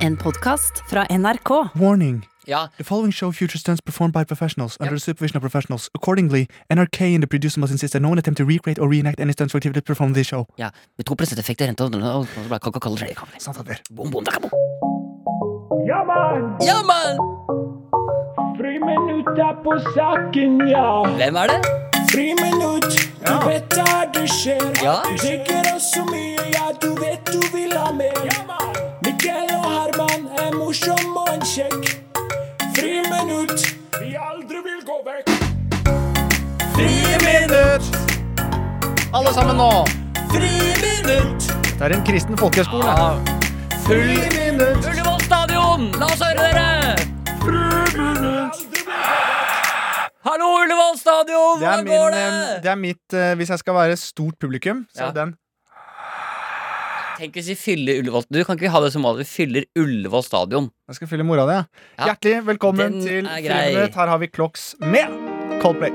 En podkast fra NRK. Warning. Ja, The following show features stunts performed by professionals under the supervision of professionals. Accordingly, NRK and the producer must insist that no one attempt to recreate or reenact any stunts or activity performed in this show. ja. Med 2 effekt i rente og og så ble Coca-Cola tre kameraer. Samtaler. Bom, bom, takka, bom. Ja, mann! Ja, mann! Friminutt er på saken, ja. Hvem er det? Friminutt, du vet da det skjer. Ja. Du drikker oss så mye, ja, du vet du vil ha mer. Mikkel og Herman er morsom og en kjekk. Friminutt, vi aldri vil gå vekk. Alle sammen nå! Friminutt, Det er en kristen folkehøyskole. Ah. Ullevål stadion! La oss høre dere! Hallo, Ullevål stadion! Det er, Hvordan min, går det? eh, det er mitt eh, Hvis jeg skal være stort publikum, så Ja. er den Tenk hvis vi fyller Ullevål Du kan ikke vi ha det som mål at vi fyller Ullevål stadion. Jeg skal fylle mora di. jeg. Ja. Hjertelig velkommen Den til er grei. Friminutt. Her har vi Clocks med Coldplay.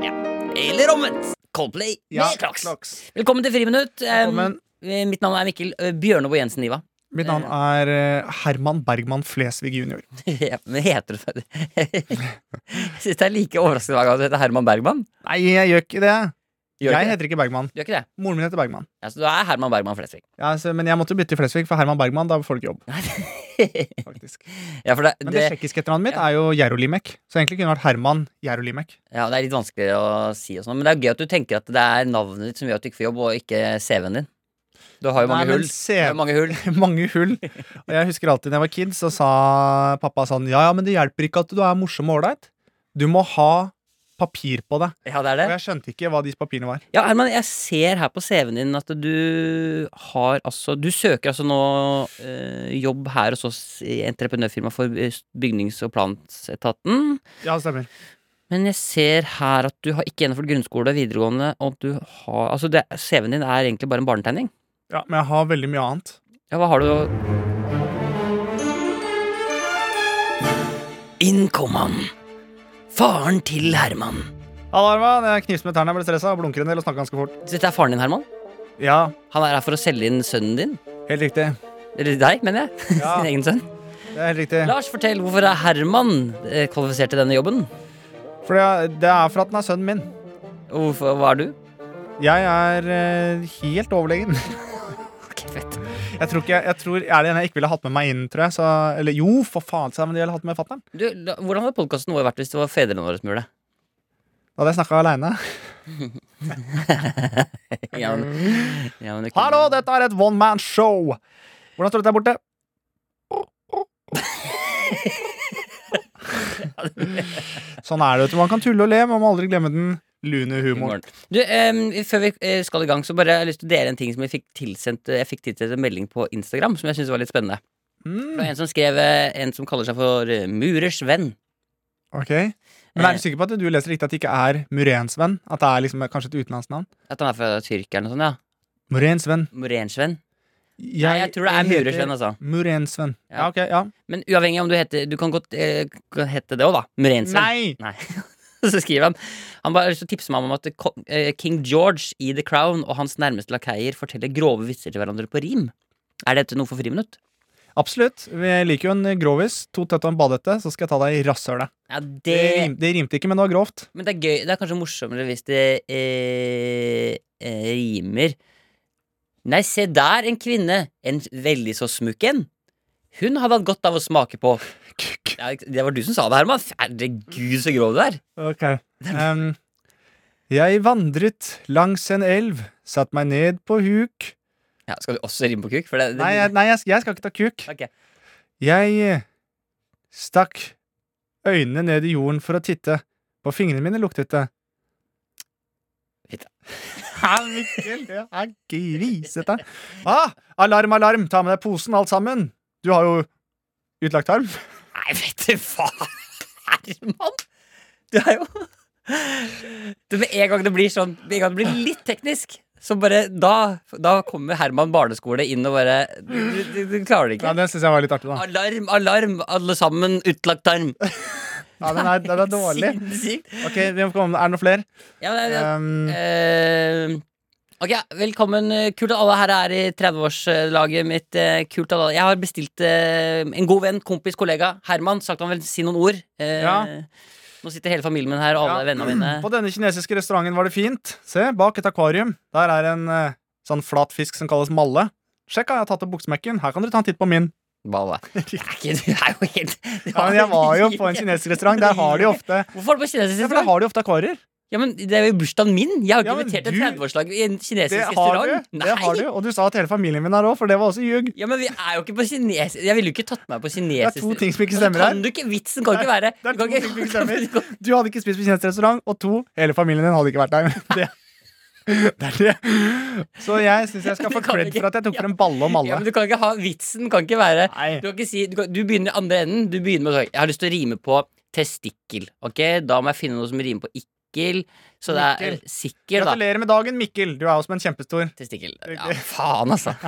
Eller omvendt. Coldplay Ja, med Crocs. Clocks. Velkommen til Friminutt. Eh, Velkommen. eh, mitt navn er Mikkel eh, Bjørneboe Jensen Niva. Mitt navn er eh, Herman Bergman Flesvig jr. Ja, Men heter du det? Jeg syns det er like overraskende hver gang du heter Herman Bergman. Nei, jeg gjør ikke det. jeg Gjør du ikke det? heter ikke Bergman. Gjør ikke det? Moren min heter Bergman. Ja, så du er Herman Bergman Flesvig. Ja, så, men jeg måtte bytte til Flesvig, for Herman Bergman, da får du ikke jobb. faktisk ja, for det, Men det, det, tsjekkiske etternavnet mitt er jo Jerolimek. Så egentlig kunne det vært Herman Jerolimek. ja, det er litt vanskeligere å si, og sånn, men det er gøy at du tenker at det er navnet ditt som gjør at du ikke får jobb, og ikke CV-en din. Du har jo Nei, mange men hull. CV Du har jo mange hull. mange hull. Og jeg husker alltid da jeg var kid, så sa pappa sånn Ja, ja, men det hjelper ikke at du er morsom og ålreit. Du må ha papir på deg. Ja, det er det. Og jeg skjønte ikke hva de papirene var. Ja, Herman, jeg ser her på CV-en din at du har altså Du søker altså nå eh, jobb her hos oss i entreprenørfirma for eh, bygnings- og planetaten. Ja, det stemmer. Men jeg ser her at du har ikke gjennomført grunnskole og videregående, og du har Altså, det- CV-en din er egentlig bare en barnetegning. Ja, Men jeg har veldig mye annet. Ja, hva har du Inn kom han. Faren til Herman. Halla, Arman. Jeg knipser med tærne, jeg ble stressa, blunker en del og snakker ganske fort. Så dette er faren din, Herman? Ja, Han er her for å selge inn sønnen din? helt riktig. Eller deg, mener jeg. Ja. Sin egen sønn. Det er helt riktig. Lars, fortell hvorfor er Herman eh, kvalifisert til denne jobben? For det- det er for at den er sønnen min. Og hvorfor, hva er du? Jeg er eh, helt overlegen. Ok, fett. Jeg tror ikke, jeg tror, Er det en jeg ikke ville hatt med meg inn, tror jeg? Så, eller jo, for faen, sa jeg, men det ville jeg hatt med fatter'n. Du, la, hvordan hadde podkasten vår vært hvis det var fedrene våre som gjorde det? Da hadde jeg snakka aleine. Ja, men, ja, men det kunne- Hallo, dette er et one man show. Hvordan står det der borte? sånn er det. vet du. Man kan tulle og le, men man må aldri glemme den lune humoren. Du, em, før vi eh, skal i gang, så bare har jeg lyst til å dele en ting som jeg fikk tilsendt eh, Jeg fikk tilsendt en melding på Instagram som jeg syntes var litt spennende. Det Mm, var en som skrev eh, en som kaller seg for eh, Murers venn. ok. Men Eh. er du sikker på at du leser riktig at det ikke er Murensvenn? At det er liksom kanskje et utenlandsk navn? At han er fra Tyrkia eller noe sånt, ja. Murensvenn. Murensvenn. Nei, jeg tror det er heter Murers venn, altså. Murensvenn. Ja. Ja, ok, ja. Men uavhengig om du heter Du kan godt eh, kan hete det òg, da. Murensvenn. Nei! Så skriver han Han bare har lyst til å tipse meg om at ko- eh, King George i The Crown og hans nærmeste lakeier forteller grove vitser til hverandre på rim. Er dette noe for friminutt? Absolutt. Vi liker jo en grovis. To tett og en badehette, så skal jeg ta deg i rasshølet. Ja, Det, det rim, det rimte ikke, men det var grovt. Men det er gøy Det er kanskje morsommere hvis det eh, eh, rimer Nei, se der, en kvinne. En veldig så smukk en. Hun hadde hatt godt av å smake på ja, Det var du som sa det, Herman. Herregud, så grov du er. Ok. Em, jeg vandret langs en elv, satt meg ned på huk Ja, skal du også rime på kuk? For det, det, Nei, jeg, nei, jeg, jeg skal ikke ta kuk. Ok. Jeg eh, stakk øynene ned i jorden for å titte. På fingrene mine luktet det. Fitte. Hæ, Mikkel, det er grisete. Ah, alarm, alarm, ta med deg posen, alt sammen. Du har jo utlagt arm. Nei, vet du hva, Herman! Du er jo du, Med en gang det blir sånn Med en gang det blir litt teknisk, så bare Da, da kommer Herman barneskole inn og bare Du, du, du klarer det Ja, ikke. den syns jeg var litt artig, da. Alarm, alarm, alle sammen, utlagt arm. Ja, den er, den er dårlig. Sinnssykt. Ok, vi må komme, Er det noen flere? Ja, det, er- Um, eh, Ok, Velkommen. eh, Kult at alle her er i 30-årslaget mitt. eh, Kult at alle Jeg har bestilt eh, en god venn, kompis, kollega, Herman. Sagt han vil si noen ord. Eh, Ja. Nå sitter hele familien min her, og alle Ja. vennene mine. På denne kinesiske restauranten var det fint. Se, bak et akvarium. Der er en eh, sånn flat fisk som kalles malle. Sjekk, jeg har tatt opp buksmekken. Her kan dere ta en titt på min. Balla. Det er ikke Du er jo helt du Ja, men jeg var jo på en kinesisk restaurant. Der har de ofte Hvorfor er det på kinesisk Ja, for der restaurant? har de ofte akvarier. Ja, men Det er jo bursdagen min! Jeg har Ja, jo ikke men invitert til du- 30-årslag i en kinesisk Det har du. restaurant. Det har du. Og du sa at hele familien min er òg, for det var også ljug. Ja, men vi er jo ikke på kinesisk Jeg ville jo ikke tatt meg på Det kinesisk er to ting som ikke Altså, stemmer Kan her. du ikke vitsen? Kan ikke være Det er du to kan ting som ikke stemmer. du kan- Du hadde ikke spist på kinesisk restaurant, og to, hele familien din hadde ikke vært der. Det, det er det. Så jeg syns jeg skal Du få kan cred ikke- for at jeg tok frem balle og Ja, malle. men du kan ikke ha vitsen. Kan ikke være Nei. Du kan ikke si Du, kan, du begynner i andre enden. Du begynner med å si, Jeg har lyst til å rime på testikkel. Ok, da må jeg finne noe som rimer på ikkel. Så det er Mikkel. sikker, da. Gratulerer med dagen, Mikkel. Du er jo som en kjempestor. Testikkel. Ja, Riktig. faen, altså.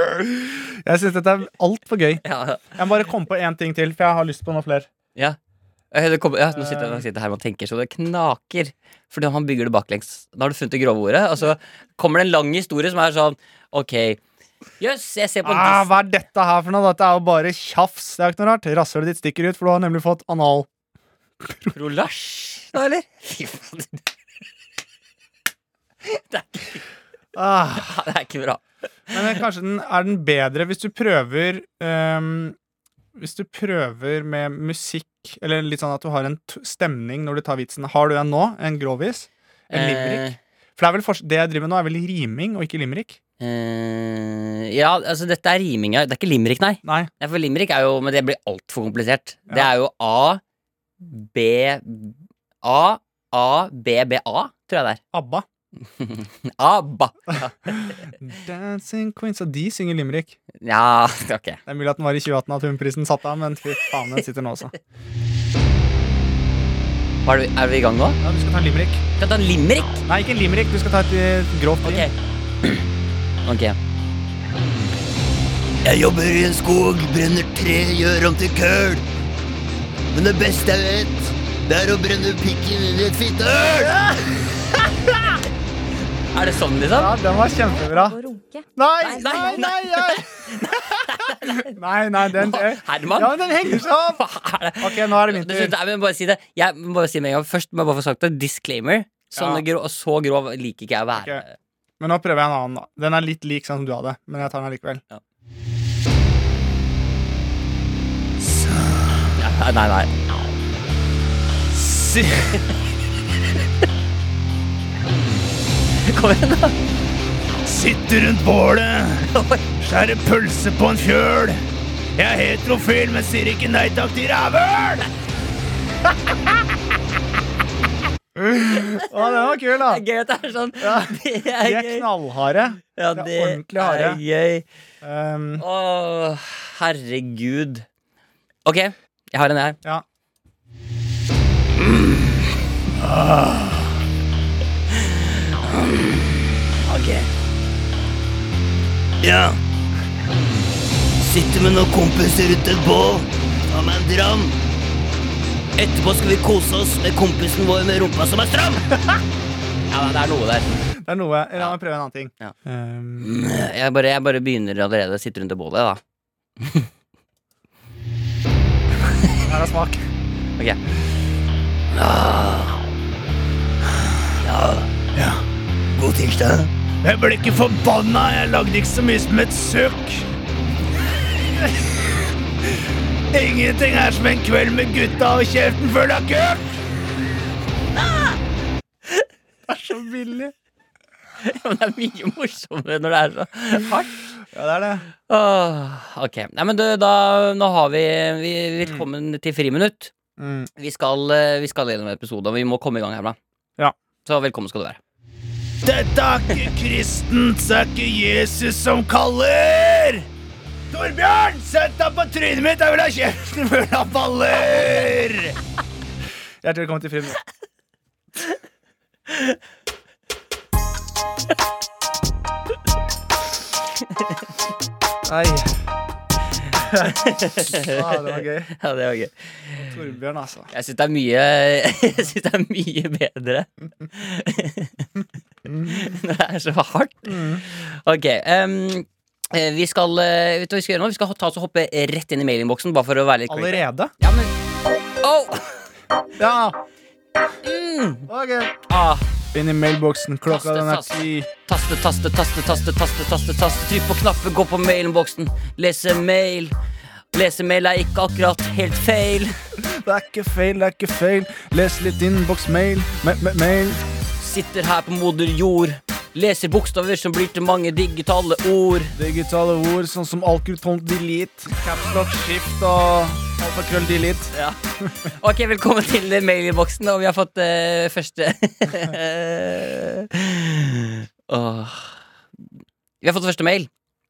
Jeg syns dette er altfor gøy. Ja, Jeg må bare komme på én ting til, for jeg har lyst på noe flere. ja. Eh, Det kommer- ja, nå sitter jeg nå sitter Herman og tenker så det knaker. Fordi han bygger det baklengs. Da har du funnet det grove ordet, og så kommer det en lang historie som er sånn Ok, jøss, jeg ser på en Ah, dis- hva er dette her for noe? Dette er jo bare tjafs. Det er ikke noe rart. Rasshølet ditt stikker ut, for du har nemlig fått anal. Prolasj, da, eller? Fy faen. Det er, ikke- Ah. det er ikke bra. Men eh, kanskje den er den bedre hvis du prøver ehm, Hvis du prøver med musikk Eller litt sånn at du har en t stemning når du tar vitsen. Har du en nå? En grovis? En limerick? For det, er vel fors- det jeg driver med nå, er vel riming og ikke limerick? Eh, eh, ja, altså dette er riminga. Det er ikke limerick, nei. Nei. nei for limerick er jo Men det blir altfor komplisert. Det Ja. er jo A, B A, A, B, B, A, tror jeg det er. ABBA. Abba. Dancing Queens. Og de synger limerick. Ja, ok. Det er mulig at den var i 2018 at Humprisen satt av, men fy faen, den sitter nå også. Hva Er, vi, er vi i gang nå? Ja, du skal ta en limerick. Skal jeg ta en limerick? Nei, ikke en limerick. Du skal ta et eh, grovt rim. Ok. Ok. Jeg jobber i en skog, brenner tre, gjør om til køl. Men det beste jeg vet, det er å brenne pikken i et fittehøl. er det sånn, liksom? Ja, den var kjempebra. Nei, nei, nei! Nei, nei, nei den eh, Herman? Ja, men den henger seg opp! Hva er det? Ok, nå er det min Det- tur. Nei, men bare si det. Jeg må bare si det med en gang. Først må jeg bare få sagt det. Disclaimer. Sånne gro så grov liker ikke jeg å være. Ok. Men nå prøver jeg en annen. da. Den er litt lik sånn som du hadde, men jeg tar den allikevel. Nei, nei, nei. Kom igjen, da. Sitte rundt bålet, skjære pølse på en fjøl. Jeg er heterofil, men sier ikke nei takk til rævøl! Å, den var kul, da! Det er gøy at det er sånn. Det De er er gøy. knallharde. Det Ja, er det ordentlig harde. er gøy. Um, Å, herregud. OK, jeg har en her. ja. Ok. Ja. Sitter med noen kompiser ute et bål. Ta meg en dram. Etterpå skal vi kose oss med kompisen vår med rumpa som er stram. Ja, det er noe der. Det er noe La meg prøve en annen ting. Ja. Um, Jeg bare, jeg bare begynner allerede. Sitter rundt det bålet, da. her er smak. Ok. God tirsdag. Jeg ble ikke forbanna, jeg lagde ikke så mye som et søkk. Ingenting er som en kveld med gutta og kjeften full av køkk. Så billig. Men det er mye morsommere når det er så hardt. Ja, det er det. Åh, ok. Nei, men du, da Nå har vi, vi Velkommen til friminutt. Mm. Vi skal, eh, vi skal gjennom en episode, og vi må komme i gang, Herman. Ja. Så velkommen skal du være. Dette er ikke kristent, så er ikke Jesus som kaller. Torbjørn, sett deg på trynet mitt, jeg vil ha kjeften full av baller. Hjertelig velkommen til Frim. Nei. Ah, det var gøy. Ja, det var gøy. Torbjørn, altså. Jeg syns det er mye Jeg synes det er mye bedre. Det er så hardt. Ok. em, eh, vi skal eh, Vet du hva vi skal gjøre nå? Vi skal ta oss og hoppe rett inn i mailinnboksen. Bare for å være litt creepy. Allerede? Ja, men Au! Ja! Ok. Ah, Inn i mailboksen. Klokka den er Taste, taste. ti. taste, taste, taste, taste, taste, taste, taste. Trykk på knappen, gå på mailinnboksen. Lese mail. Lese mail er ikke akkurat helt feil. Det er ikke feil, det er ikke feil. Les litt innboksmail. Ma- ma- Mail. Sitter her på moder jord. Leser bokstaver som blir til mange digitale ord. Digitale ord sånn som alkutont delete, capslock shift og alfakrøll delete. Ja. Ok, velkommen til mailinnboksen. Og vi har fått eh, første Åh. Vi har fått første mail,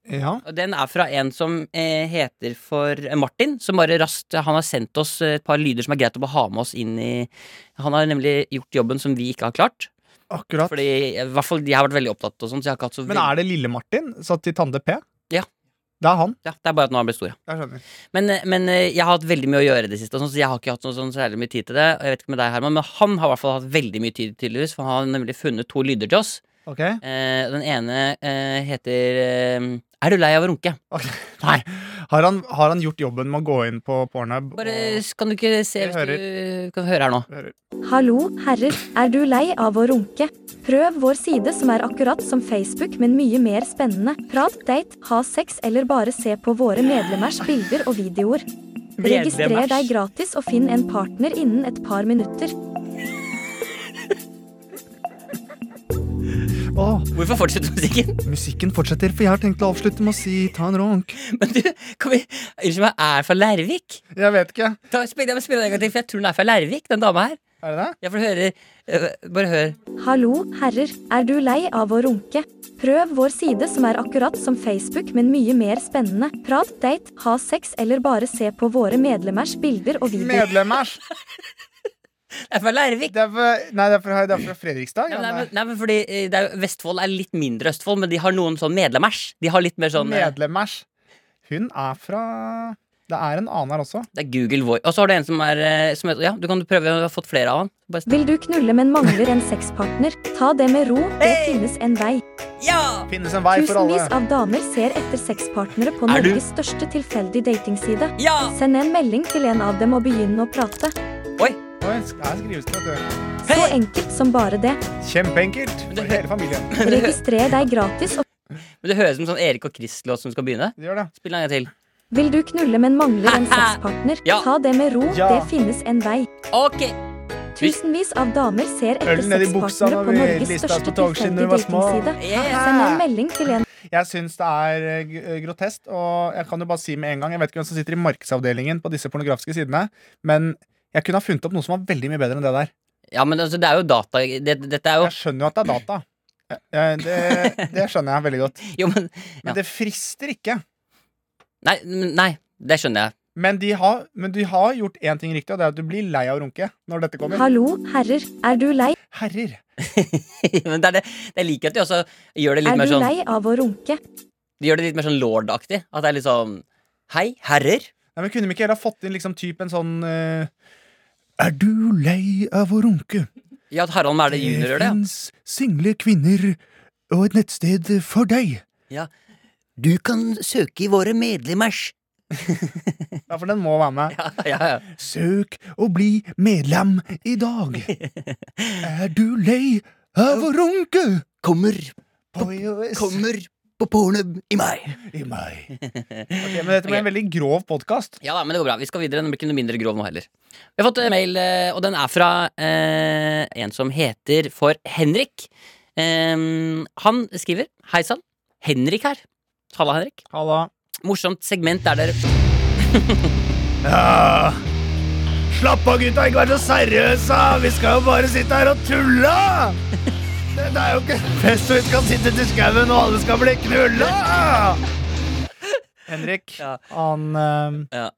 Ja. og den er fra en som eh, heter for eh, Martin. Som bare raskt eh, Han har sendt oss et par lyder som er greit å bare ha med oss inn i Han har nemlig gjort jobben som vi ikke har klart. Akkurat. Fordi i hvert fall jeg har vært veldig opptatt, og sånt, så jeg har ikke hatt så Men er det Lille-Martin satt i Tande P? Ja. Det er han. ja, Det er bare at nå har han blitt stor. ja. Jeg skjønner. Men, men eh, jeg har hatt veldig mye å gjøre i det siste, og sånn, så jeg har ikke hatt noe sånn særlig mye tid til det. Og jeg vet ikke med deg, Herman, men han har i hvert fall hatt veldig mye tid, tydeligvis, for han har nemlig funnet to lyder til oss. Ok? Eh, den ene eh, heter eh, Er du lei av å runke? Ok. Nei. Har han, har han gjort jobben med å gå inn på pornhub? Bare, og- s- Kan du ikke se Jeg hvis du kan høre her nå? Hører. Hallo, herrer. Er du lei av å runke? Prøv vår side som er akkurat som Facebook, men mye mer spennende. Prat, date, ha sex eller bare se på våre medlemmers bilder og videoer. Registrer deg gratis og finn en partner innen et par minutter. Åh, Hvorfor fortsetter musikken? musikken fortsetter, for jeg har tenkt å avslutte med å si ta en ronk. Men du, kan vi Unnskyld meg, er fra Lærvik? Jeg vet ikke. Ta, spill, jeg må spille den en gang til, for jeg tror den er fra Lærvik, den dama her. Er det det? Jeg får høre eh, Bare hør. Hallo, herrer. Er du lei av å runke? Prøv vår side som er akkurat som Facebook, men mye mer spennende. Prat, date, ha sex eller bare se på våre medlemmers bilder og videoer. Medlemmers. Det er fra Lærvik. Det er fra, nei, det er fra, det er fra Fredrikstad. Ja, Ja, men, nei, det men, nei, men fordi eh, det er, jo- Vestfold er litt mindre Østfold, men de har noen sånn medlemmers. De har litt mer er sånn eh, Medlemmers. Hun er fra Det er en annen her også. Det er Google Voice. Og så har du en som er eh, som heter, Ja, du kan prøve. Jeg har fått flere av han. Bare st- Vil du knulle, men mangler en sexpartner? Ta det med ro, det finnes en vei. Ja! Finnes en vei for alle. Tusenvis av damer ser etter sexpartnere på Er du- Norges største tilfeldig datingside. Ja! Send en melding til en av dem og begynn å prate. Oi! Oi, sk- her skrives det, vet du. Så Hei! enkelt som bare det. Kjempeenkelt det- for hele familien. Registrer deg gratis. Og Men Det høres ut som sånn Erik og Chris-låt som skal begynne. Det gjør det. Spill en gang til. vil du knulle, men mangler en sexpartner? Ja. Ta det med ro, Ja. det finnes en vei. Ok! Tusenvis av damer ser etter Øl ned i buksa når sexpartnere på vi Norges lista på største togskinnet når vi tilfeldig var små. datingside. Yeah. Send en melding til en Jeg syns det er eh, g- eh, grotesk, og jeg kan jo bare si med en gang Jeg vet ikke hvem som sitter i markedsavdelingen på disse pornografiske sidene, men jeg kunne ha funnet opp noe som var veldig mye bedre enn det der. Ja, men altså, det er jo data det, Dette er jo Jeg skjønner jo at det er data. Jeg- jeg- Det, det skjønner jeg veldig godt. Jo, men Men Ja. det frister ikke. Nei, men- nei det skjønner jeg. Men de, har, men de har gjort én ting riktig, og det er at du blir lei av å runke når dette kommer. Hallo, herrer. Er du lei? Herrer. men det er det Jeg liker at de også gjør det litt Er mer du sånn lei av å runke? De gjør det litt mer sånn lord-aktig. At det er litt sånn Hei, herrer. Nei, men Kunne vi ikke heller ha fått inn liksom typ en sånn eh, Er du lei av å runke? Ja, at Harald Mæhle jr. gjør det. ja. fins single kvinner og et nettsted for deg. Du kan søke i våre medlemmers. Ja, for den må være med. Ja, ja, ja. Søk å bli medlem i dag. Er du lei av å runke? Kommer, På iOS kommer på pornhub i meg. i meg. Ok, men dette ble en veldig grov podkast. Ja da, men det går bra. Vi skal videre. Den blir ikke noe mindre grov nå heller. Vi har fått en mail, eh, og den er fra eh, en som heter for Henrik. Eh, han skriver Hei sann, Henrik her. Halla, Henrik. Halla. Morsomt segment der dere Ja. Slapp av, gutta. Ikke vær så seriøse. Vi skal jo bare sitte her og tulle. Det, det er jo ikke en fest hvor vi skal sitte til skauen og alle skal bli knulla. Henrik. Ja. Han eh, Ja.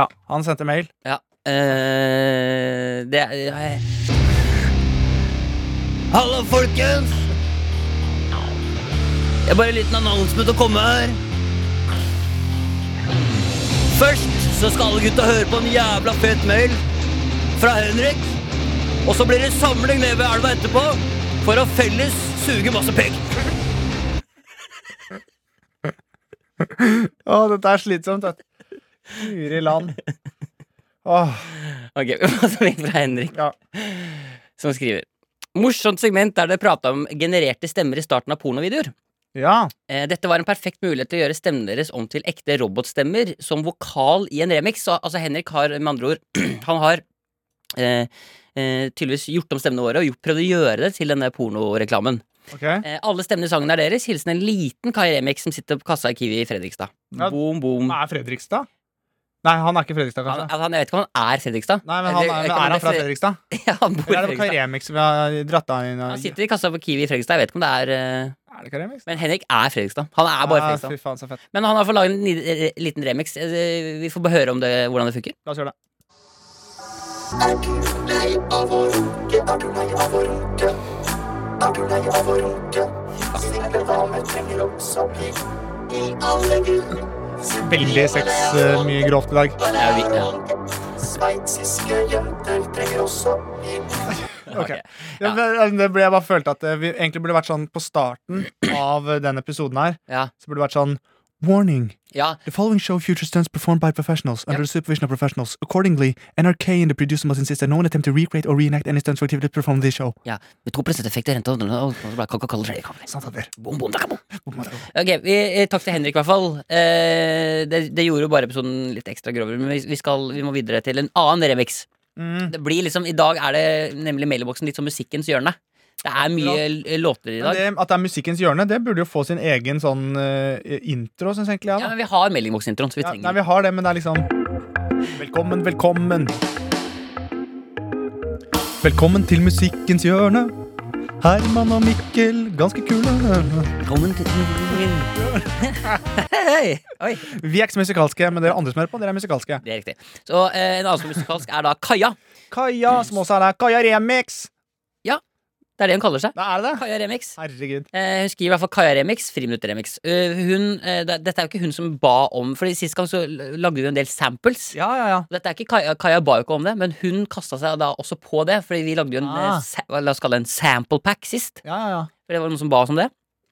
ja, han sendte mail. Ja. eh, det er Hallo, folkens! Jeg har bare en liten annonsement å komme her. Først så skal alle gutta høre på en jævla fet mail fra Henrik. Og så blir det samling nede ved elva etterpå for å felles suger masse pek. Å, dette er slitsomt, vet du. Guri land. Åh, Ok, vi må ta en fra Henrik, ja. som skriver Morsomt segment der det prata om genererte stemmer i starten av pornovideoer. ja. Eh, Dette var en perfekt mulighet til å gjøre stemmen deres om til ekte robotstemmer som vokal i en remix. Så, altså Henrik har med andre ord Han har eh, eh, tydeligvis gjort om stemmene våre og gjort, prøvd å gjøre det til denne pornoreklamen. Ok. Ja, Eh, alle stemmene i sangen er deres. Hilsen en liten Kai Remix som sitter på kassa i Kiwi i Fredrikstad. Ja. Boom, boom. Er Fredrikstad? Nei, han er ikke Fredrikstad, Han, kanskje. han, jeg vet ikke om han er Fredrikstad. Nei, men han er, men er han fra Fredrikstad? Fredrikstad? Ja, han bor i Eller er det Fredrikstad. Karemix vi har dratt av inn? Han Er sitter i kassa på Kiwi i Fredrikstad. Jeg vet ikke om det er eh, det Karemix? Men Henrik er Fredrikstad. Han er bare Ja, sånn. Fredrikstad. fy faen, så fett. Men han har fått laget en li- eh, liten remix. Eh, Vi får bare høre om det, hvordan det funker. La oss gjøre det. Veldig sex, eh, mye grovt i dag. Ja, vi, ja. Ok. Ok, Ja, men Det ble, jeg bare følte at eh, vi egentlig burde vært sånn på starten av eh, den episoden her. Ja. Så burde det vært sånn Warning. ja. The following show features stunts performed by professionals under the supervision of professionals. Accordingly, NRK and the producer must insist that no one attempt to recreate or reenact any stunts or activities performed in this show. ja. Med 2 effekt i renta og så ble det Coca-Cola Cherry Cola. Sant, Adler? Bom, bom, takka, bom. Ok, vi, eh, Takk til Henrik, i hvert fall. Eh, det, det gjorde jo bare episoden litt ekstra grovere. Men vi, vi, skal, vi må videre til en annen remix. Mm. Det blir liksom, I dag er det nemlig mailboksen litt som musikkens hjørne. Det er mye l- eh, låter i Men dag. det, at det er musikkens hjørne, det burde jo få sin egen sånn eh, intro, syns egentlig jeg. Ja, Da. men Vi har mailboksintroen, så vi Ja, trenger nei, vi har det, men det er liksom Velkommen, velkommen. Velkommen til musikkens hjørne. Herman og Mikkel, ganske kule. Velkommen til Hei! Oi, Vi er ikke så musikalske, men dere andre som hører på, dere er musikalske. det er riktig. Så eh, en annen som er musikalsk er da Kaja. Kaja, som også er der. Kaja Remix. Det er det hun kaller seg. Da er det det. Kaja Remix. Herregud. Eh, hun skriver i hvert fall Kaja Remix, Friminutt-remix. Eh, hun, eh, det, dette er jo ikke hun som ba om Fordi Sist gang så l- lagde vi jo en del samples. Ja, ja, ja. Dette er ikke Kaja, Kaja ba jo ikke om det, men hun kasta seg da også på det. Fordi vi lagde jo en, Ah. eh, sa, hva la oss kalle det en sample pack sist. ja, ja, ja. For det var noen som ba oss om det.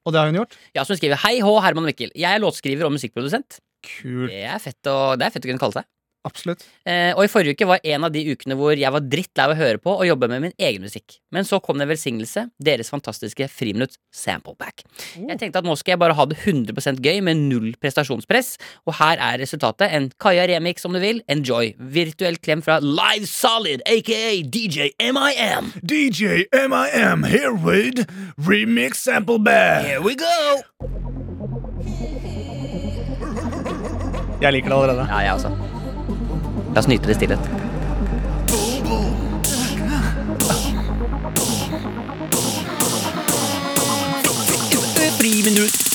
Og det har hun gjort? Ja, så hun skriver Hei H, Herman og Mikkel. Jeg er låtskriver og musikkprodusent. Kult. Det er fett å, det er fett å kunne kalle seg. Absolutt. Eh, og i forrige uke var en av de ukene hvor jeg var drittlei av å høre på og jobbe med min egen musikk. Men så kom det en velsignelse. Deres fantastiske friminutt sample pack. Oh. Jeg tenkte at nå skal jeg bare ha det 100 gøy med null prestasjonspress. Og her er resultatet. En Kaja remix om du vil. Enjoy. Virtuell klem fra Live Solid, aka DJ MIM. DJ MIM here with Remix Sample Band. Here we go! Jeg liker det allerede. Ja, jeg også. La oss nyte det i stillhet. Friminutt.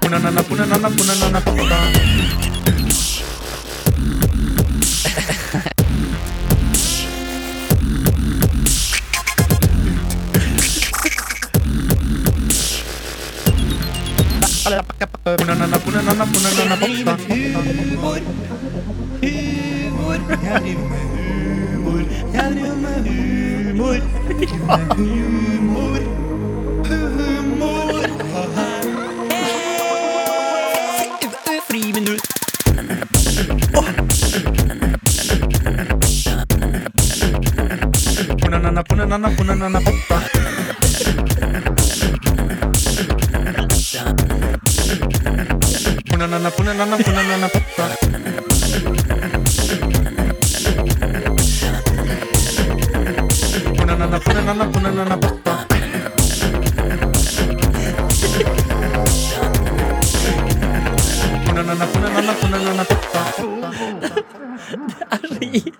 Punanana, punanana, punanana, punanana. Punanana, punanana, punanana, punanana. Punanana, punanana, punanana, punanana. Punanana, punanana, punanana, punanana. Punanana, punanana, punanana, punanana. Punanana, punanana, punanana, punanana. Det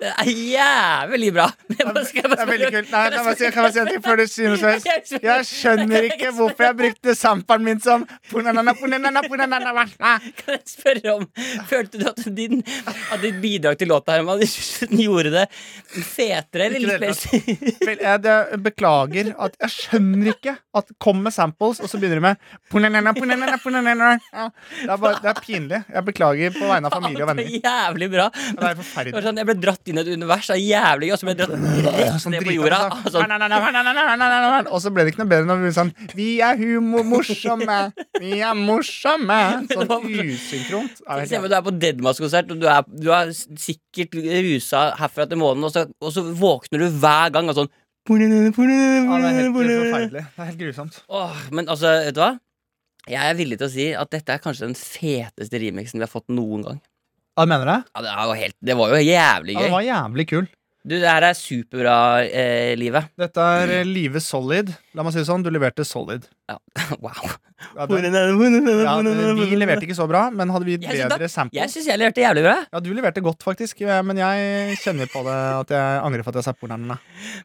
Det er jævlig bra. Det er bare- skal jeg bare Det er veldig spørre- kult. Nei, nei, bare si- kan jeg si en ting før du sier noe som helst? Jeg skjønner ikke hvorfor jeg brukte samperen min som punanana, punanana, punanana, vasla. Kan jeg spørre om Følte du at, din, at ditt bidrag til låta Herman, gjorde det fetere eller Ikke litt det mer Vel, Jeg det- beklager at jeg skjønner ikke at Kom med samples, og så begynner de med punanana, punanana, punanana. Ja, Det er, bare, det er pinlig. Jeg beklager på vegne av familie og venner. Det var Jævlig bra. Det er Det var forferdelig. sånn, jeg ble dratt inn i et univers. Det er jævlig gøy. Og så ble jeg dratt rett Sånn ned på drita, jorda. sånn. Sånn, Og så ble det ikke noe bedre når vi sånn Vi er humormorsomme, vi er morsomme. Sånn usynkront. Er det Se for helt deg, du er på Deadmas-konsert, og du er, du er sikkert rusa herfra til månen, og så, og så våkner du hver gang og sånn ja, det er helt forferdelig. Det er helt grusomt. Åh, Men altså, vet du hva? Jeg er villig til å si at dette er kanskje den feteste remixen vi har fått noen gang. Ja, mener du det? Ja, det, er jo helt, det var jo jævlig Ja, gøy. den var jævlig kul. Du, det her er superbra, eh, livet. Dette er eh, Live Solid. La meg si det sånn, du leverte solid. Ja. Wow. Ja, det, ja, vi leverte ikke så bra, men hadde vi gitt Jeg synes bedre da- Jeg samples syns jeg leverte jævlig bra. Ja, du leverte godt, faktisk, ja, men jeg kjenner på det at jeg angrer for at jeg sa pornerne.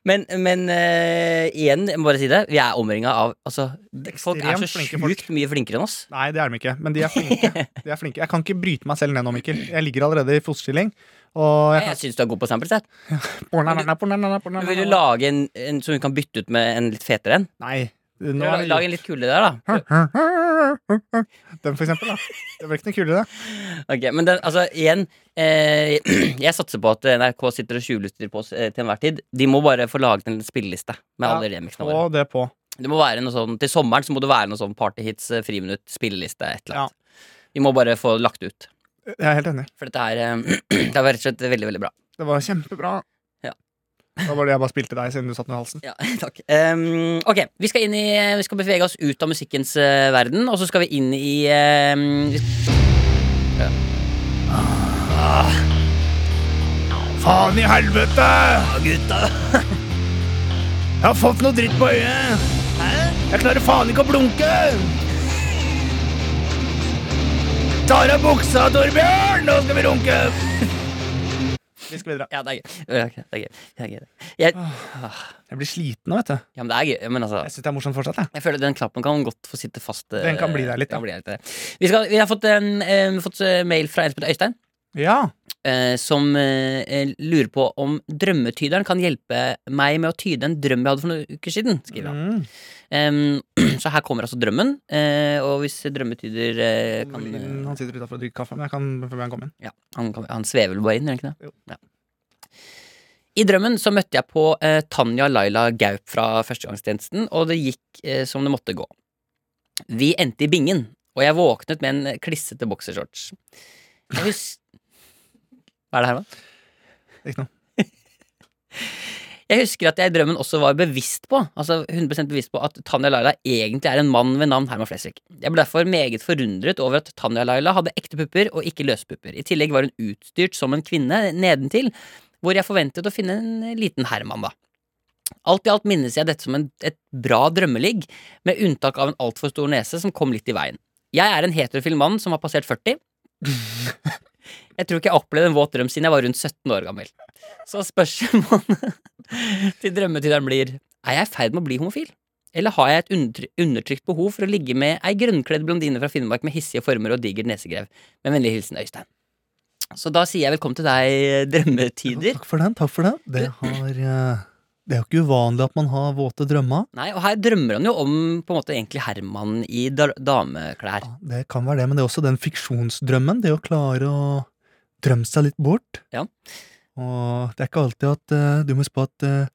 Men, men eh, igjen, jeg må bare si det, vi er omringa av altså, Folk er så Ekstremt flinke folk. sjukt mye flinkere enn oss. Nei, det er de ikke, men de er flinke. De er flinke. Jeg kan ikke bryte meg selv ned nå, Mikkel. Jeg ligger allerede i fosterstilling. Og jeg Jeg syns du er god på samples. jeg. kan pornanana, pornanana, pornanana. Vil du lage en, en som du kan bytte ut med en litt fetere en? Nei. Nå Lag er lag en litt kulere der, da. det Den, for eksempel. Da. Det var ikke noe kulere, det. Ok, men den, altså, igjen eh, Jeg satser på at eh, NRK sitter og tjuvlytter på oss eh, til enhver tid. De må bare få laget en spilleliste med alle remixene våre. Få det på. Det må være noe sånn, Til sommeren så må det være noe sånn partyhits, eh, friminutt, spilleliste, et eller annet. Vi må bare få lagt det ut. Jeg er helt enig. For dette er eh, Det er rett og slett veldig, veldig bra. Det var kjempebra. Ja. Da var det jeg bare spilte deg, siden du satt den i halsen. Ja, takk. Ehm, ok, vi skal, inn i, eh, vi skal bevege oss ut av musikkens eh, verden, og så skal vi inn i ehm, Faen i helvete! Jeg har fått noe dritt på øyet. Jeg klarer faen ikke å blunke. Tar av buksa, Torbjørn! Nå skal vi runke. Vi skal videre. Ja, det er gøy. Ja, ok, Det er gøy. Det er gøy. Jeg, Jeg blir sliten nå, vet du. ja, men det er gøy. Men altså Jeg syns det er morsomt fortsatt, jeg. jeg føler Den knappen kan godt få sitte fast. eh, Den kan bli der litt, ja. kan bli der litt. eh. Vi, skal, vi har fått, en, eh, fått eh, mail fra en som heter Øystein, Ja. eh, som eh, eh, lurer på om drømmetyderen kan hjelpe meg med å tyde en drøm jeg hadde for noen uker siden. skriver han Mm. Ehm, Så her kommer altså drømmen, eh, og hvis drømmetyder eh, kan Linn, Han sitter utafor og drikker kaffe, men jeg kan be han komme inn. Ja, han, kan- han svever vel bare inn, gjør han ikke det? Jo. Ja. I drømmen så møtte jeg på eh, Tanja Laila Gaup fra førstegangstjenesten, og det gikk eh, som det måtte gå. Vi endte i bingen, og jeg våknet med en klissete boksershorts. Jeg hus- Hva er det her, da? Ikke noe. Jeg husker at jeg i drømmen også var bevisst på Altså 100% bevisst på at Tanja Laila egentlig er en mann ved navn Herman Flesvig. Jeg ble derfor meget forundret over at Tanja Laila hadde ekte pupper og ikke løspupper. I tillegg var hun utstyrt som en kvinne nedentil, hvor jeg forventet å finne en liten Herman, da. Alt i alt minnes jeg dette som en, et bra drømmeligg, med unntak av en altfor stor nese som kom litt i veien. Jeg er en heterofil mann som har passert 40. Jeg tror ikke jeg har opplevd en våt drøm siden jeg var rundt 17 år gammel. Så spørsmålet til drømmetyderen blir Er jeg i ferd med å bli homofil? Eller har jeg et under- undertrykt behov for å ligge med ei grønnkledd blondine fra Finnmark med hissige former og diger nesegrev? Med vennlig hilsen Øystein. Så da sier jeg velkommen til deg, drømmetider. Takk for den. takk for den Det, har, eh, det er jo ikke uvanlig at man har våte drømmer. Nei, og her drømmer han jo om på en måte egentlig Herman i da dameklær. Ja, Det kan være det, men det er også den fiksjonsdrømmen. Det å klare å drømme seg litt bort. Ja. Og det er ikke alltid at eh, du må huske på at eh,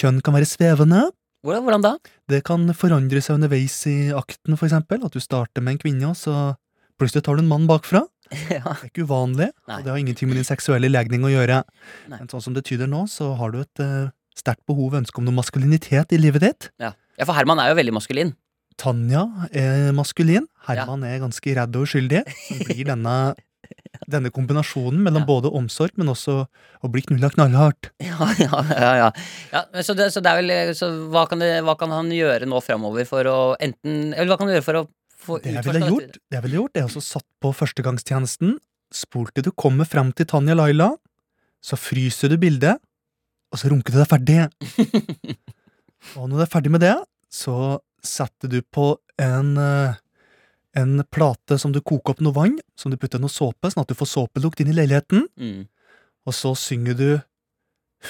kjønn kan være svevende. Hvordan, hvordan da? Det kan forandre seg underveis i akten, for eksempel. At du starter med en kvinne, og så plutselig tar du en mann bakfra. ja. Det er ikke uvanlig, Nei. og det har ingenting med din seksuelle legning å gjøre. Nei. Men sånn som det tyder nå, så har du et eh, sterkt behov og ønske om noe maskulinitet i livet ditt. ja, for Herman er jo veldig maskulin. Tanja er maskulin, Herman er ganske redd og uskyldig. Som blir denne, denne kombinasjonen mellom Ja. både omsorg, men også å bli knulla knallhardt. Ja, ja, ja, ja. ja men så, det, så det er vel Så hva kan, det, hva kan han gjøre nå framover for å enten Eller hva kan han gjøre for å få Det jeg utforsket ville dette gjort, videre? det jeg ville gjort, er også satt på førstegangstjenesten, spolt til du kommer fram til Tanja Laila, så fryser du bildet, og så runker du deg ferdig. og når du er ferdig med det, så setter du på en, eh, en plate som du koker opp noe vann, som du putter noe såpe, sånn at du får såpelukt inn i leiligheten, Mm. og så synger du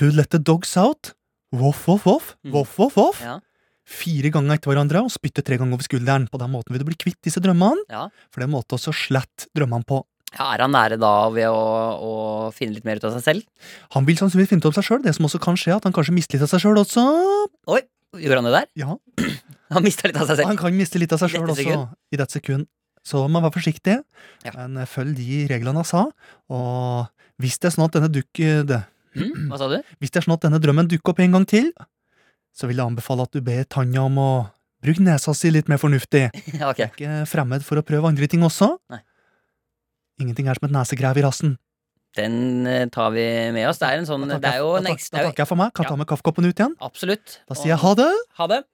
Who let the dogs out? Voff, voff, voff, Mm. voff, voff, voff. Ja. Fire ganger etter hverandre og spytter tre ganger over skulderen. På den måten vil du bli kvitt disse drømmene, Ja. for det er en måte også å slette drømmene på. Ja, er han nære da ved å, å finne litt mer ut av seg selv? Han vil sannsynligvis finne ut om seg sjøl. Det som også kan skje, er at han kanskje mister litt av seg sjøl også. Oi, gjorde han det der? Ja, Han mista litt av seg han selv. kan miste litt av seg I sjøl dette også i dette sekund. Så man var forsiktig, Ja. men eh, følg de reglene han sa. Og hvis det er sånn at denne, duk, det, Mm, hva sa du? hvis det er sånn at denne drømmen dukker opp en gang til, så vil jeg anbefale at du ber Tanja om å bruke nesa si litt mer fornuftig. Ja, ok. Ikke fremmed for å prøve andre ting også. Nei. Ingenting er som et nesegrev i rassen. Den eh, tar vi med oss. Det er, en sånn, Da det er takker jeg- jo en da tak- ekstra Da takker jeg for meg. Kan Ja. ta med kaffekoppen ut igjen. Absolutt. Da sier jeg ha det. Ha det.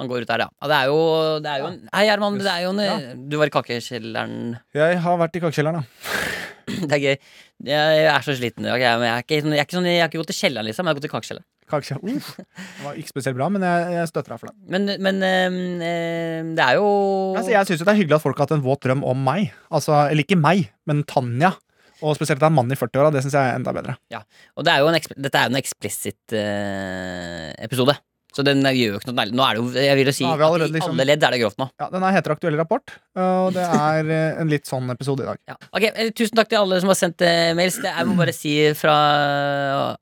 Han går ut der, ja. Ja, Det er jo, det er jo en, Hei, Herman. Det er jo en, Ja. Du var i kakekjelleren. Jeg har vært i kakekjelleren, da. Det er gøy. Jeg er så sliten i dag. Jeg, men jeg, er ikke, sånn- jeg, er ikke sånn, jeg har ikke gått til kjelleren, liksom. Jeg har gått til kakekjelleren. Kakekjell. Uff. Det var ikke spesielt bra, men jeg, jeg støtter deg for det. Men, men ehm, ehm, det er jo Altså, jeg syns det er hyggelig at folk har hatt en våt drøm om meg. Altså, eller ikke meg, men Tanja. Og spesielt at det er en mann i 40-åra. Det syns jeg er enda bedre. Og det er jo en, ekspl- dette er jo en eksplisitt eh, episode. Så den gjør jo ikke noe nærlig. Nå er det jo, jeg vil jo si, Da har vi at allerede i liksom- alle ledd er det grovt nå. Ja, Den her heter Aktuell rapport, og det er eh, en litt sånn episode i dag. Ja. Ok, eh, Tusen takk til alle som har sendt eh, mails. Det, jeg må bare si fra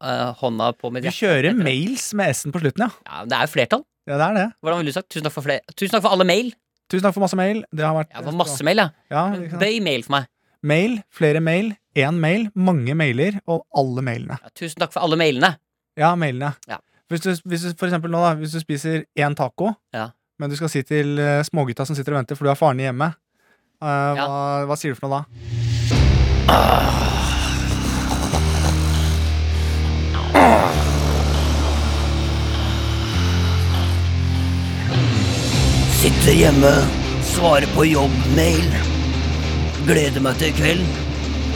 eh, hånda på mitt Vi hjerte kjører mails med S-en på slutten, ja. ja, Det er jo flertall. ja. Det er det. Hvordan ville du sagt? Tusen takk for, flere. Tusen takk for alle mail. Tusen takk for masse mail. Det har vært Jeg får masse mail, ja. ja, ikke sant? Bøy mail for meg. Mail, flere mail, én mail, mange mailer, og alle mailene. Ja, tusen takk for alle mailene. Ja, mailene. Ja. Hvis, du, hvis du for eksempel nå, da, hvis du spiser én taco, Ja. men du skal si til eh, smågutta som sitter og venter, for du har faren i hjemmet, eh, Ja. hva, hva sier du for noe da? Sitter hjemme, svarer på jobbmail. Gleder meg til kveld.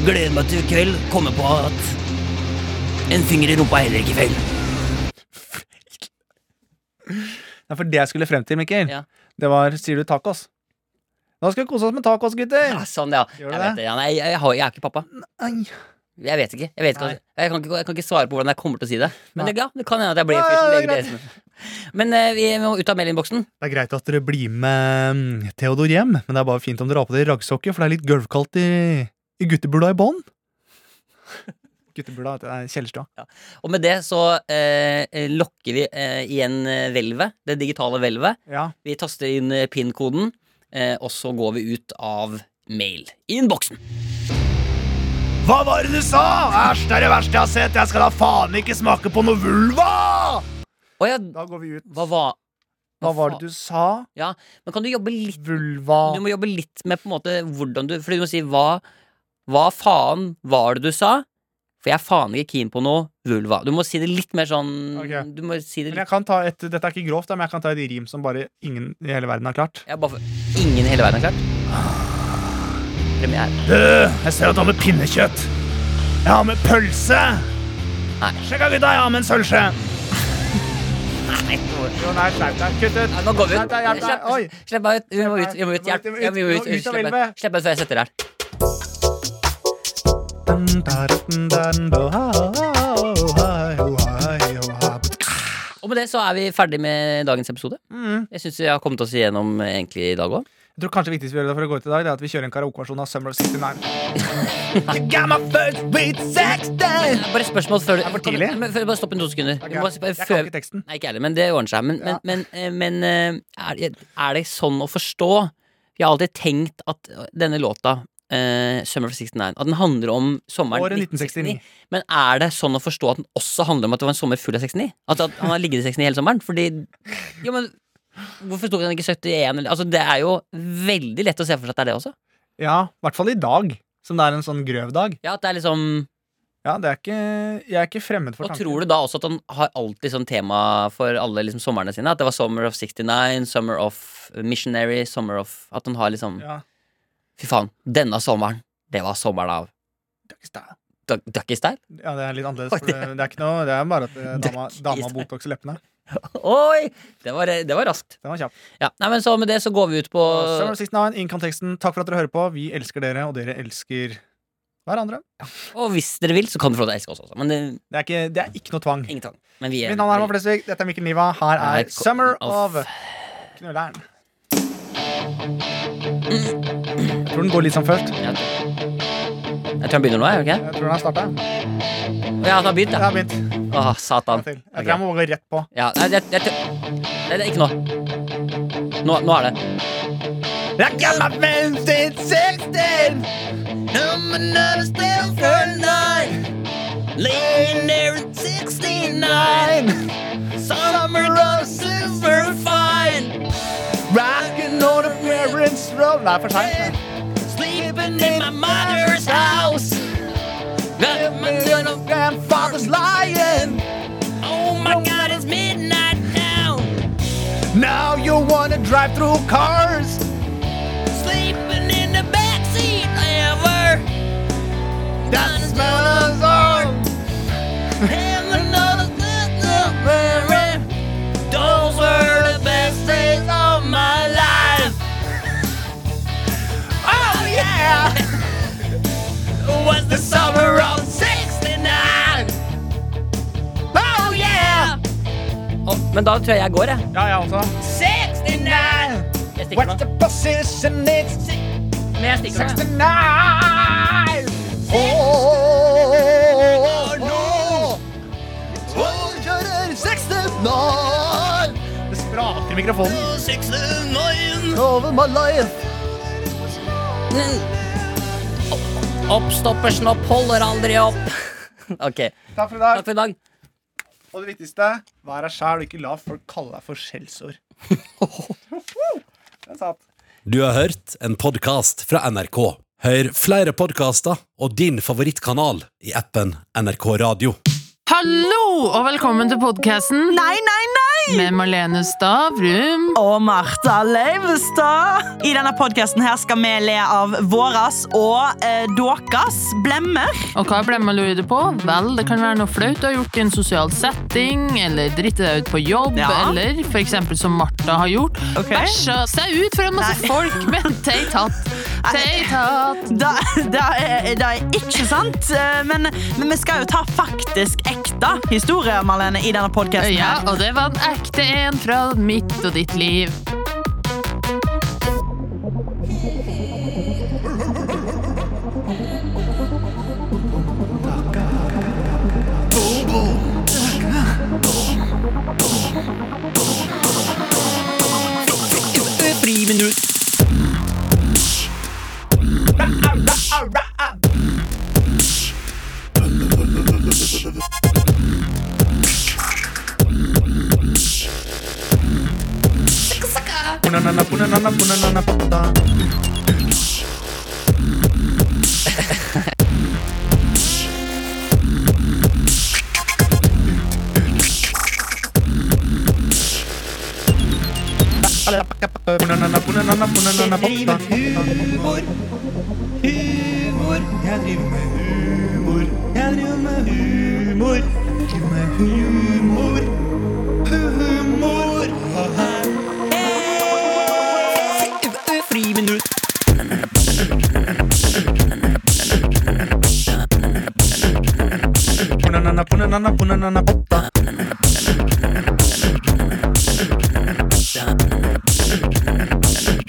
Gleder meg til kveld. Kommer på at en finger i rumpa er heller ikke feil. Ja, for det jeg skulle frem til, Mikkel, Ja. det var sier du tacos. Da skal vi kose oss med tacos, gutter! Ja, sånn, ja. Gjør Jeg du det? vet det. Ja, nei, jeg, jeg, har, jeg er ikke pappa. Nei. Jeg vet ikke. Jeg, vet ikke, Nei. jeg, kan, ikke jeg kan ikke svare på hvordan jeg kommer til å si det. Men Nei. det, ja, det kan hende at jeg blir Nei, fyren. det er legger det i- Men eh, vi må ut av mailinnboksen. Det er greit at dere blir med mm, Theodor hjem, men det er bare fint om dere har på dere raggsokker, for det er litt gulvkaldt i, i guttebula i bånn. guttebula det er kjellerstua. Og med det så eh, lokker vi eh, igjen eh, hvelvet. Det digitale hvelvet. Ja. Vi taster inn eh, pin-koden, eh, og så går vi ut av mail-innboksen. Hva var det du sa? Æsj, det er det verste jeg har sett. Jeg skal da faen ikke smake på noe vulva! Å ja, Da går vi ut. hva var Hva var det du sa? Ja, men kan du jobbe litt Vulva Du må jobbe litt med på en måte hvordan du Fordi du må si hva, hva faen var det du sa? For jeg er faen ikke keen på noe vulva. Du må si det litt mer sånn Ok. Du må si det Men jeg litt kan ta et, Dette er ikke grovt, da, men jeg kan ta et rim som bare ingen i hele verden har klart. ja, bare for Ingen i hele verden har klart. Premiere. Du, Eh, jeg ser at du har med pinnekjøtt. Jeg har med pølse. Nei. Sjekk av gutta, jeg har med en sølvskje. Jo, nei, slapp deg. Kutt ut. Nei, nå går vi Slapp ut. deg, hjelp Slipp, deg. Oi. slipp meg ut. Vi må ut. Vi må ut. Hjelp. Vi må ut, vi må ut, Ja, vi må vi ut. må ut av Slipp meg elven. Slipp meg ut før jeg setter deg her. Dun, da, dun, dun, da, ha, ha, ha, ho, ha, ho, ha. Og med det så er vi ferdig med dagens episode. Mm. Jeg syns vi har kommet oss igjennom eh, egentlig i dag òg. Jeg tror kanskje det viktigste vi gjør det for å gå ut i dag, Det er at vi kjører en karaokeversjon av Summer of 69. I got my first beat sex day. Bare et spørsmål før du for tidlig. Kan du- men før- Bare stopp en to sekunder. Ok, Vi må- Jeg før- kan ikke teksten. Nei, ikke jeg heller, men det ordner seg. Men, Ja. men, men, eh, men eh, er, er det sånn å forstå? Jeg har alltid tenkt at denne låta, eh, 'Summer of 69', at den handler om sommeren Året 1969. Men er det sånn å forstå at den også handler om at det var en sommer full av 69? At, at han har ligget i 69 hele sommeren? Fordi Jo, men hvorfor sto den ikke 71? Eller, altså, det er jo veldig lett å se for seg at det er det også. Ja, i hvert fall i dag, som det er en sånn grøv dag. Ja, at det er liksom Ja, det er ikke, Jeg er ikke fremmed for Og tanken. tror du da også at han har alltid sånn tema for alle liksom somrene sine? At det var Summer of 69, Summer of Missionary, Summer of At han har liksom Ja. Fy faen, denne sommeren, det var sommeren av Duck- Ducky style? Ja, det er litt annerledes. For det, det er ikke noe, det er bare at eh, dama, dama har Botox i leppene. Oi! Det var, det var raskt. Den var kjapp. Ja, nei, men så med det så går vi ut på Summer of 69, In Conteksten, takk for at dere hører på. Vi elsker dere, og dere elsker hverandre. Og hvis dere vil, så kan dere få lov til å elske oss også. altså. Men det, Det er ikke, det er ikke noe tvang. ingen tvang. Men vi er Mitt navn er Herman Flesvig, dette er Mikkel Niva. Her Her er kom- Summer Off. of Knulleren. Jeg tror den går litt som først. Ja. Jeg tror han begynner nå, jeg, gjør han ikke? Jeg tror den har starta. Ja, han har begynt, Jeg ja. har begynt. Jeg Åh, satan. tror jeg må gå rett på. Ja, nei, jeg, jeg, tror- nei, det er ikke nå. nå. Nå er det. Det er for seint. Now you wanna drive through cars. Å, men da tror jeg jeg går, jeg. Ja, jeg også. Jeg stikker nå. position? It's Men jeg stikker nå. jeg. tonight. Oh, no. Oh, you're 69. Det spraker i mikrofonen. Over my life. Oppstopper snopp holder aldri opp. Ok, Takk for i dag. takk for i dag. Og det viktigste, vær deg sjæl, ikke la folk kalle deg for skjellsord. Den satt. Du har hørt en podkast fra NRK. Hør flere podkaster og din favorittkanal i appen NRK Radio. Hallo og velkommen til podcasten Nei, nei, nei! med Marlene Stavrum. Og Martha Leivestad! I denne podkasten her skal vi le av våras og eh, deres blemmer. Og hva blemmer lurer du på? Vel, det kan være noe flaut du har gjort i en sosial setting, eller dritte deg ut på jobb, Ja. eller for eksempel som Martha har gjort, Ok. bæsja seg ut foran masse Nei. folk med en teit hatt. Teit hatt. Da, da, er, da er ikke sant. Eh, Men, men vi skal jo ta faktisk ekte historier, Marlene, i denne podkasten. Ja, og det var en ekte en fra mitt og ditt liv. Punanana, punanana, punanana, pata. Punanana, punanana, punanana, pata. Punanana, punanana, punanana, pata.